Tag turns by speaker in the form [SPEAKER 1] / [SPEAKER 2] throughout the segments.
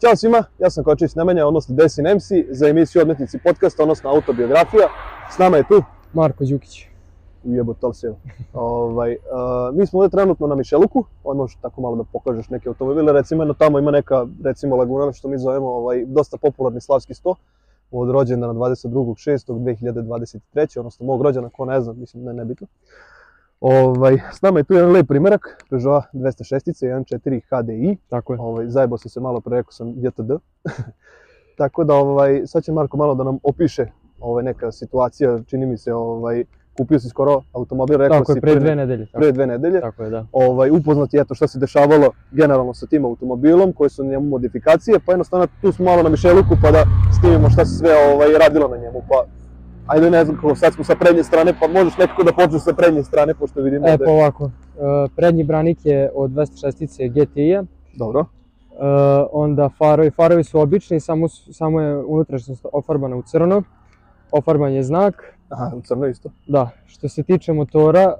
[SPEAKER 1] Ćao svima, ja sam Kočević Nemanja, odnosno Desin MC, za emisiju Odmetnici podcasta, odnosno autobiografija. S nama je tu,
[SPEAKER 2] Marko Đukić.
[SPEAKER 1] ujebo to se. ovaj, a, mi smo ovde trenutno na Mišeluku, ovaj možeš tako malo da pokažeš neke automobile, recimo jedno tamo ima neka, recimo Laguna, što mi zovemo ovaj, dosta popularni slavski sto, od rođendana 22.6.2023, odnosno mog rođena, ko ne zna, mislim da je nebitno. Ovaj, s nama je tu jedan lep primerak, Peugeot 206, 1.4 HDI,
[SPEAKER 2] Tako je.
[SPEAKER 1] Ovaj, zajebao sam se malo pre, rekao sam JTD. Tako da, ovaj, sad će Marko malo da nam opiše ovaj, neka situacija, čini mi se, ovaj, kupio si skoro automobil, rekao
[SPEAKER 2] Tako
[SPEAKER 1] si
[SPEAKER 2] je, pre dve nedelje. Tako,
[SPEAKER 1] pre dve nedelje.
[SPEAKER 2] tako je, da.
[SPEAKER 1] Ovaj, upoznat je eto šta se dešavalo generalno sa tim automobilom, koje su na njemu modifikacije, pa jednostavno tu smo malo na Mišeluku pa da snimimo šta se sve ovaj, radilo na njemu, pa ajde ne znam kako, sad smo sa prednje strane, pa možeš nekako da počneš sa prednje strane, pošto vidimo
[SPEAKER 2] E,
[SPEAKER 1] da
[SPEAKER 2] pa
[SPEAKER 1] je...
[SPEAKER 2] ovako. E, prednji branik je od 206 GTI-a,
[SPEAKER 1] Dobro,
[SPEAKER 2] e, onda farovi. Farovi su obični, samo, su- samo je unutrašnjost ofarbana u crno. Ofarban je znak.
[SPEAKER 1] aha, u crno isto.
[SPEAKER 2] Da, što se tiče motora, e,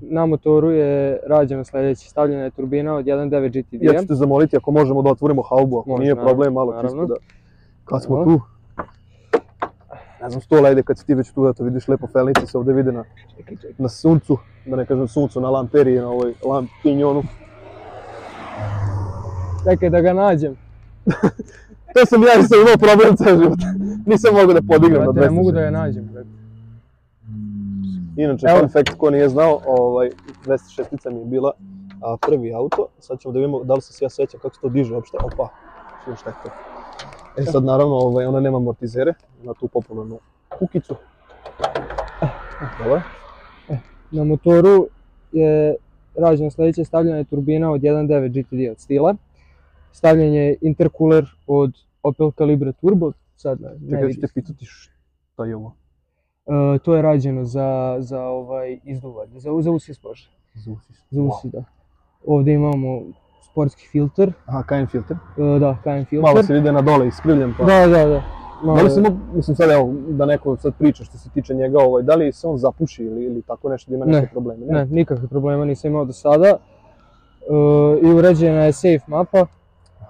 [SPEAKER 2] na motoru je rađeno sledeće. Stavljena je turbina od 1.9 GTD.
[SPEAKER 1] Ja ću te zamoliti ako možemo da otvorimo haubu, ako
[SPEAKER 2] Može,
[SPEAKER 1] nije
[SPEAKER 2] naravno,
[SPEAKER 1] problem, malo
[SPEAKER 2] naravno.
[SPEAKER 1] čisto da... Kad smo
[SPEAKER 2] Hvala.
[SPEAKER 1] tu... Ne znam, stola ajde kad si ti već tu, da to vidiš lepo felnice se ovde vide na, na suncu, da ne kažem suncu, na lamperi, na ovoj lampinjonu.
[SPEAKER 2] Čekaj da ga nađem.
[SPEAKER 1] To sam ja sam imao problem ceo život. Nisam mogao da podignem na
[SPEAKER 2] Brate,
[SPEAKER 1] 200.
[SPEAKER 2] ne mogu da ga nađem. brate.
[SPEAKER 1] Inače,
[SPEAKER 2] Evo.
[SPEAKER 1] fun fact, ko nije znao, ovaj, 206 mi je bila a, prvi auto. Sad ćemo da vidimo da li se ja sećam kako se to diže uopšte. Opa, čujem šta je to. E sad, naravno, ovaj, ona nema amortizere, ima tu popularnu kukicu. Eh, Dobro je.
[SPEAKER 2] Na motoru je rađeno sledeće, stavljena je turbina od 1.9 GTD od stila, stavljen je intercooler od Opel Calibra Turbo, sad ne, ne
[SPEAKER 1] Čekaj, ću
[SPEAKER 2] vidim.
[SPEAKER 1] te pitati šta je ovo.
[SPEAKER 2] E, to je rađeno za, za ovaj izduvanje, za, za usis Bože,
[SPEAKER 1] Za usis.
[SPEAKER 2] za usi, da. Ovde imamo sportski filter,
[SPEAKER 1] Aha, kajen filter.
[SPEAKER 2] e, da, KM filter.
[SPEAKER 1] Malo se vidi na dole, iskrivljen pa.
[SPEAKER 2] Da, da, da.
[SPEAKER 1] Da
[SPEAKER 2] Malo,
[SPEAKER 1] li se mo, mislim sad evo, da neko sad priča što se tiče njega, ovaj, da li se on zapuši ili, ili tako nešto, da ima neke
[SPEAKER 2] Ne,
[SPEAKER 1] probleme?
[SPEAKER 2] ne, nikakve problema nisam imao do sada. E, I uređena je safe mapa,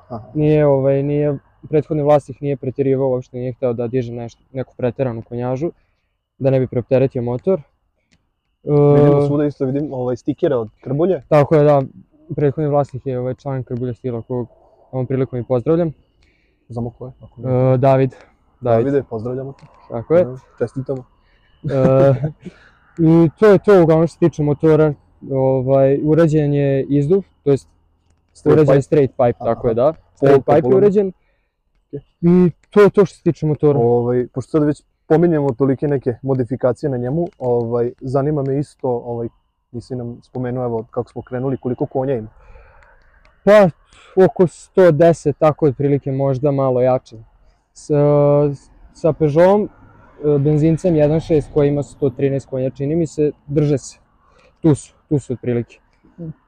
[SPEAKER 1] Aha.
[SPEAKER 2] nije, ovaj, nije, prethodni vlasnik nije pretirivao, uopšte nije hteo da diže nešto, neku preteranu konjažu, da ne bi preopteretio motor. E,
[SPEAKER 1] Vidimo svuda isto vidim ovaj stikere od Krbolje.
[SPEAKER 2] tako je da, prethodni vlasnik je ovaj član Krbulja Stila, kog ovom prilikom i pozdravljam. E,
[SPEAKER 1] Znamo ko je. Ako ne.
[SPEAKER 2] David, David,
[SPEAKER 1] Davide, pozdravljamo te.
[SPEAKER 2] tako E, je.
[SPEAKER 1] Da, Čestitamo.
[SPEAKER 2] E, I to je to uglavnom što se tiče motora, ovaj, uređen je izduv, to jest
[SPEAKER 1] Straight
[SPEAKER 2] uređen je
[SPEAKER 1] pipe.
[SPEAKER 2] straight pipe, tako je da. Straight pipe je
[SPEAKER 1] popularno.
[SPEAKER 2] uređen. I to je to što se tiče motora.
[SPEAKER 1] Ovaj, pošto sad već pominjemo tolike neke modifikacije na njemu, ovaj, zanima me isto, ovaj, nisi nam spomenuo, evo, kako smo krenuli, koliko konja ima.
[SPEAKER 2] Pa, oko 110, tako otprilike, možda malo jače. S, sa Peugeotom, e, benzincem 1.6 koji ima 113 konja, čini mi se, drže se. Tu su, tu su otprilike.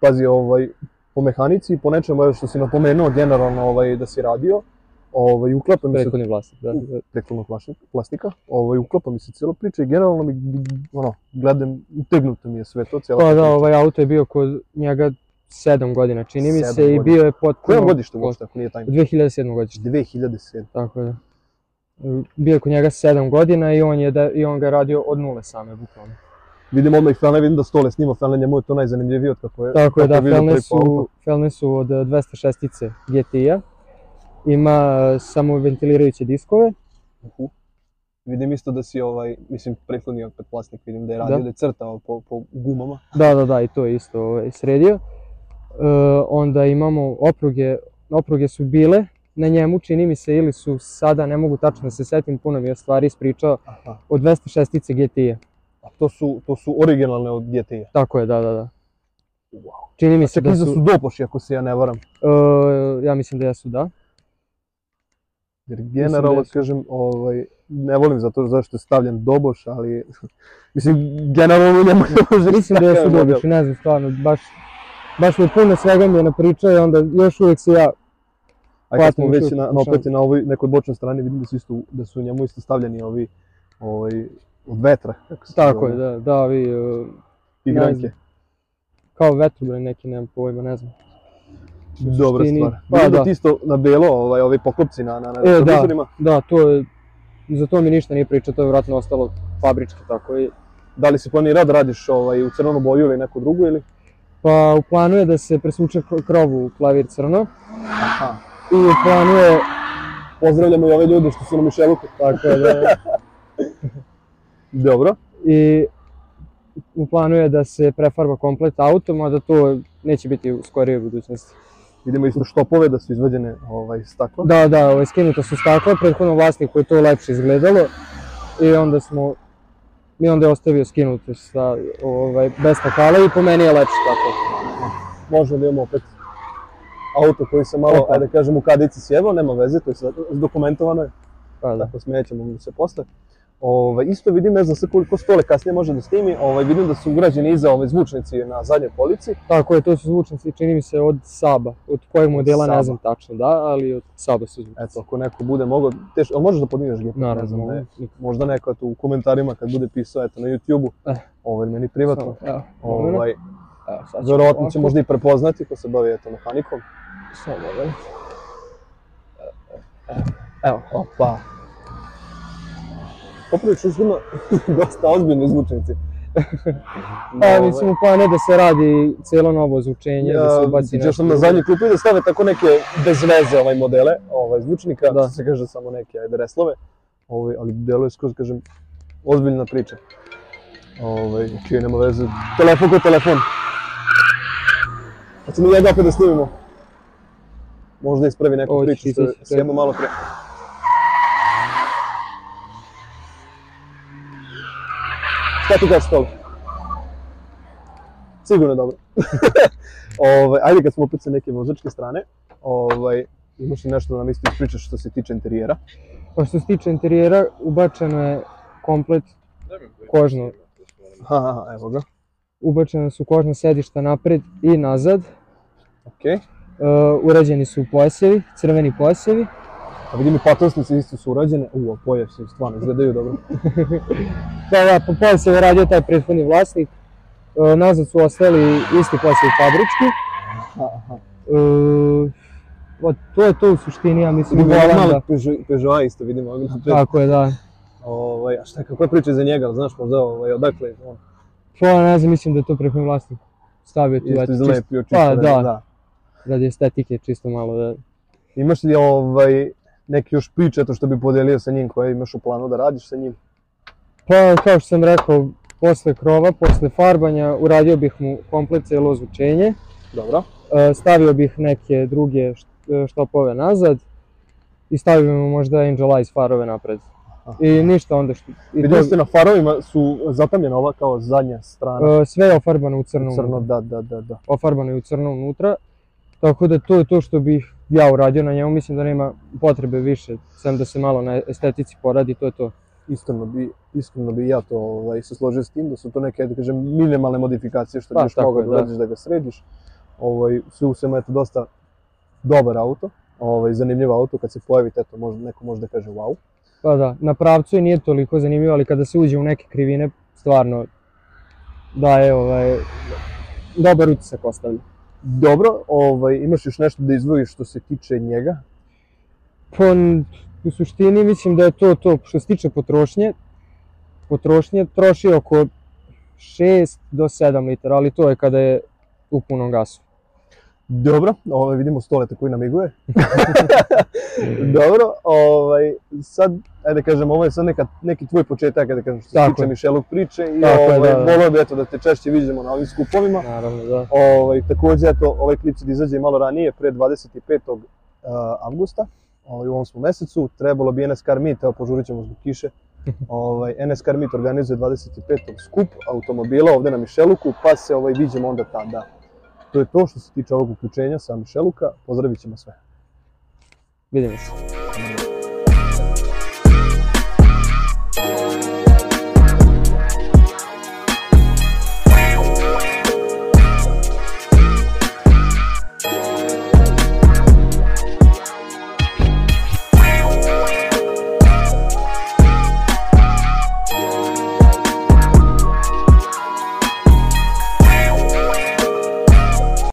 [SPEAKER 1] pazi, ovaj, po mehanici i po nečemu evo, što si napomenuo generalno ovaj, da si radio, ovaj, uklapa mi se
[SPEAKER 2] Prethodni vlasnik, da.
[SPEAKER 1] prethodnog plastika, ovaj, uklapa mi se cijela priča i generalno mi, ono, gledam, utegnuto mi je sve to, cijela
[SPEAKER 2] Pa da,
[SPEAKER 1] priča.
[SPEAKER 2] ovaj auto je bio kod njega 7 godina, čini mi
[SPEAKER 1] Sedam
[SPEAKER 2] se, i
[SPEAKER 1] godina.
[SPEAKER 2] bio je potpuno...
[SPEAKER 1] Koje je godište uopšte, ako nije taj?
[SPEAKER 2] 2007. godište,
[SPEAKER 1] 2007.
[SPEAKER 2] tako da. Bio je kod njega 7 godina i on, je da, i on ga je radio od nule same, bukvalno.
[SPEAKER 1] Vidim odmah i Felne, vidim da stole snima Felne, njemu je to najzanimljivije od kako je.
[SPEAKER 2] Tako je, da,
[SPEAKER 1] kako vidio
[SPEAKER 2] felne
[SPEAKER 1] prvi po autu.
[SPEAKER 2] su, felne su od 206 GTI-a, ima e, samo ventilirajuće diskove,
[SPEAKER 1] Uhu. Vidim isto da si ovaj, mislim, prethodni opet plastik, vidim da je radio, da,
[SPEAKER 2] Da.
[SPEAKER 1] je crtao po, po gumama.
[SPEAKER 2] da, da, da, i to je isto ovaj, sredio. E, onda imamo opruge, opruge su bile, na njemu čini mi se ili su sada, ne mogu tačno da se setim, puno mi je stvari ispričao,
[SPEAKER 1] Aha.
[SPEAKER 2] od 206 GTI-a,
[SPEAKER 1] A to su, to su originalne od GTI-a.
[SPEAKER 2] tako je, da, da, da.
[SPEAKER 1] Wow.
[SPEAKER 2] Čini mi se
[SPEAKER 1] Čekaj,
[SPEAKER 2] da
[SPEAKER 1] da
[SPEAKER 2] su,
[SPEAKER 1] su dopoši, ako se ja ne varam.
[SPEAKER 2] e, ja mislim da jesu, da.
[SPEAKER 1] Jer generalno,
[SPEAKER 2] jesu.
[SPEAKER 1] kažem, ovaj, ne volim zato zašto je stavljen doboš, ali, mislim, generalno ne može
[SPEAKER 2] Mislim da jesu dobiši, ne znam stvarno, baš, baš mi je puno svega mi je napričao i onda još uvek se ja
[SPEAKER 1] A kad smo
[SPEAKER 2] Hvatno,
[SPEAKER 1] već
[SPEAKER 2] čuo,
[SPEAKER 1] na, na
[SPEAKER 2] slušao.
[SPEAKER 1] opet i na ovoj nekoj bočnoj strani, vidim da su, isto, da su njemu isto stavljeni ovi, ovaj, od vetra, kako se
[SPEAKER 2] Tako je, da, da, vi, e,
[SPEAKER 1] igranke.
[SPEAKER 2] kao vetrobran neki, nemam pojma, ne znam. znači u
[SPEAKER 1] Dobra
[SPEAKER 2] suštini-
[SPEAKER 1] stvar.
[SPEAKER 2] Pa,
[SPEAKER 1] Pa,
[SPEAKER 2] da.
[SPEAKER 1] da. ti isto na belo, ovaj, ovi poklopci na, na, na
[SPEAKER 2] E, da.
[SPEAKER 1] televizorima.
[SPEAKER 2] Da, to je, za to mi ništa nije pričao, to je vjerojatno ostalo fabrički tako i
[SPEAKER 1] Da li si planirao da radiš ovaj, u crvenu boju ili neku drugu ili?
[SPEAKER 2] Pa u planu je da se presvuče kro- krov u klavir crno
[SPEAKER 1] Aha.
[SPEAKER 2] i u planu je,
[SPEAKER 1] Pozdravljamo i ove ljude što su nam u Mišeluku.
[SPEAKER 2] tako da,
[SPEAKER 1] Dobro.
[SPEAKER 2] i u planu je da se prefarba komplet auto, mada to neće biti u skorijoj budućnosti.
[SPEAKER 1] Vidimo isto štopove da su izvađene ovaj, staklo.
[SPEAKER 2] Da, da, ovaj, skinuta su stakla, prethodno vlasniku je to lepše izgledalo i onda smo, i onda je ostavio skinute sa, ovaj, bez stakala i po meni je lepše tako.
[SPEAKER 1] Možda da imamo opet auto koji se malo,
[SPEAKER 2] Opa.
[SPEAKER 1] ajde da kažem, u kadici sjevao, nema veze, to je sad dokumentovano je.
[SPEAKER 2] Pa da.
[SPEAKER 1] Tako, smejet ćemo mu se posle. Ovaj, isto vidim, ne znam se koliko stole kasnije može da snimi, ovaj, vidim da su ugrađeni iza ove zvučnici na zadnjoj polici.
[SPEAKER 2] Tako je, to su zvučnici, čini mi se, od Saba. Od kojeg modela
[SPEAKER 1] Saba.
[SPEAKER 2] ne znam tačno, da, ali od Saba su zvučnici.
[SPEAKER 1] Eto, ako neko bude mogao, teško, ali možeš da podigneš gitar? ne znam,
[SPEAKER 2] Naravno,
[SPEAKER 1] ne, možda neko eto, u komentarima kad bude pisao eto, na YouTube-u,
[SPEAKER 2] Eh.
[SPEAKER 1] ovaj, meni privatno,
[SPEAKER 2] Evo, ovaj,
[SPEAKER 1] ovaj, verovatno će možda i prepoznati ko se bavi eto, mehanikom.
[SPEAKER 2] Samo, ovaj. Evo,
[SPEAKER 1] Opa. Poprilično su ima dosta ozbiljni zvučnici. Ovaj,
[SPEAKER 2] pa mislim u planu je da se radi cijelo novo ozvučenje, da se ubaci
[SPEAKER 1] Još sam na zadnji klupi da stave tako neke bez veze ovaj modele, ovaj zvučnika,
[SPEAKER 2] Da.
[SPEAKER 1] da. se kaže samo neke ajde reslove, ovaj, ali deluje skroz, kažem, ozbiljna priča. Ovaj, čije nema veze, telefon ko telefon. Hoćemo njega opet da snimimo. Možda ispravi neku
[SPEAKER 2] Ovo će
[SPEAKER 1] priču što je
[SPEAKER 2] izaći sve.
[SPEAKER 1] sjemo malo pre. Šta ti kažeš toga? Sigurno dobro. ovaj, ajde kad smo opet sa neke vozačke strane, ovaj, imaš li nešto da nam isto ispričaš što se tiče interijera?
[SPEAKER 2] Pa što se tiče interijera, ubačeno je komplet kožno,
[SPEAKER 1] Ha, ha, ha, evo ga.
[SPEAKER 2] ubačena su kožna sedišta napred i nazad,
[SPEAKER 1] Okej.
[SPEAKER 2] e, urađeni su pojasevi, crveni pojasevi,
[SPEAKER 1] A vidim i patosnice isto su urađene. U, a pojav se stvarno izgledaju dobro.
[SPEAKER 2] da, da, po pojaseve je radio taj prethodni vlasnik, e, nazad su ostali isti pojasevi fabrički,
[SPEAKER 1] Aha, aha.
[SPEAKER 2] e, pa to je to u suštini, ja mislim, volan
[SPEAKER 1] Malo
[SPEAKER 2] da-
[SPEAKER 1] Peugeot- Peugeota isto vidimo ovdje napred.
[SPEAKER 2] Tako je, da.
[SPEAKER 1] Ovaj, a šta, kako je priča za njega, znaš možda ovaj, odakle je on
[SPEAKER 2] Pa ne znam, mislim da je to prethodni vlasnik stavio tu
[SPEAKER 1] isto
[SPEAKER 2] eto, čisto
[SPEAKER 1] izlepio čisto.
[SPEAKER 2] Pa,
[SPEAKER 1] ne,
[SPEAKER 2] da. radi estetike, čisto malo da...
[SPEAKER 1] Imaš li ovaj, neki još prič, eto što bi podelio sa njim, koje imaš u planu da radiš sa njim?
[SPEAKER 2] Pa kao što sam rekao, posle krova, posle farbanja, uradio bih mu komplet celo ozvučenje,
[SPEAKER 1] Dobro.
[SPEAKER 2] e, stavio bih neke druge št- e, štopove nazad i stavio bih mu možda Angel Eyes farove napred.
[SPEAKER 1] Aha.
[SPEAKER 2] I ništa onda što... I
[SPEAKER 1] Vidio ste na farovima su zatamljena ova kao zadnja strana.
[SPEAKER 2] e, sve je ofarbano u crno,
[SPEAKER 1] crno,
[SPEAKER 2] unutra.
[SPEAKER 1] da, da, da, da.
[SPEAKER 2] Ofarbano je u crno unutra, tako da to je to što bih ja uradio na njemu, mislim da nema potrebe više, sem da se malo na estetici poradi, to je to.
[SPEAKER 1] Iskreno bi, iskreno bi ja to ovaj, se složio s tim, da su to neke, da kažem, minimalne modifikacije što
[SPEAKER 2] Pa,
[SPEAKER 1] bi još
[SPEAKER 2] tako
[SPEAKER 1] mogao
[SPEAKER 2] je,
[SPEAKER 1] da
[SPEAKER 2] da.
[SPEAKER 1] uradiš, da ga središ. Ovaj, sve u svemu, eto, dosta dobar auto, ovaj, zanimljiv auto, kad se pojavi, eto, možda, neko može da kaže wow.
[SPEAKER 2] Pa da, na pravcu i nije toliko zanimljivo, ali kada se uđe u neke krivine, stvarno daje ovaj, dobar utisak ostavlja.
[SPEAKER 1] Dobro, ovaj, imaš još nešto da izdvojiš što se tiče njega?
[SPEAKER 2] Pon, u suštini mislim da je to to što se tiče potrošnje, potrošnje troši oko 6 do 7 litara, ali to je kada je u punom gasu.
[SPEAKER 1] Dobro, ovaj, vidimo stoleta koji namiguje. Dobro, ovaj, sad, ajde da kažem, ovo je sad neka, neki tvoj početak, ajde da kažem, što se
[SPEAKER 2] Tako
[SPEAKER 1] tiče
[SPEAKER 2] je.
[SPEAKER 1] Mišelog priče i
[SPEAKER 2] Tako je,
[SPEAKER 1] ovaj,
[SPEAKER 2] da, da.
[SPEAKER 1] voleo bi eto da te češće viđemo na ovim skupovima.
[SPEAKER 2] Naravno, da.
[SPEAKER 1] Ovaj, takođe, eto, ovaj klip će da izađe malo ranije, pre 25. uh, avgusta, ovaj, u ovom smo mesecu. Trebalo bi NS Car Meet, evo, požurit ćemo zbog kiše. Ovaj, NS Car Meet organizuje 25. skup automobila ovde na Mišeluku, pa se ovaj, viđemo onda tada. To je to što se tiče ovog uključenja sa Mišeluka. Pozdravit ćemo sve.
[SPEAKER 2] Vidimo se.
[SPEAKER 1] Amen.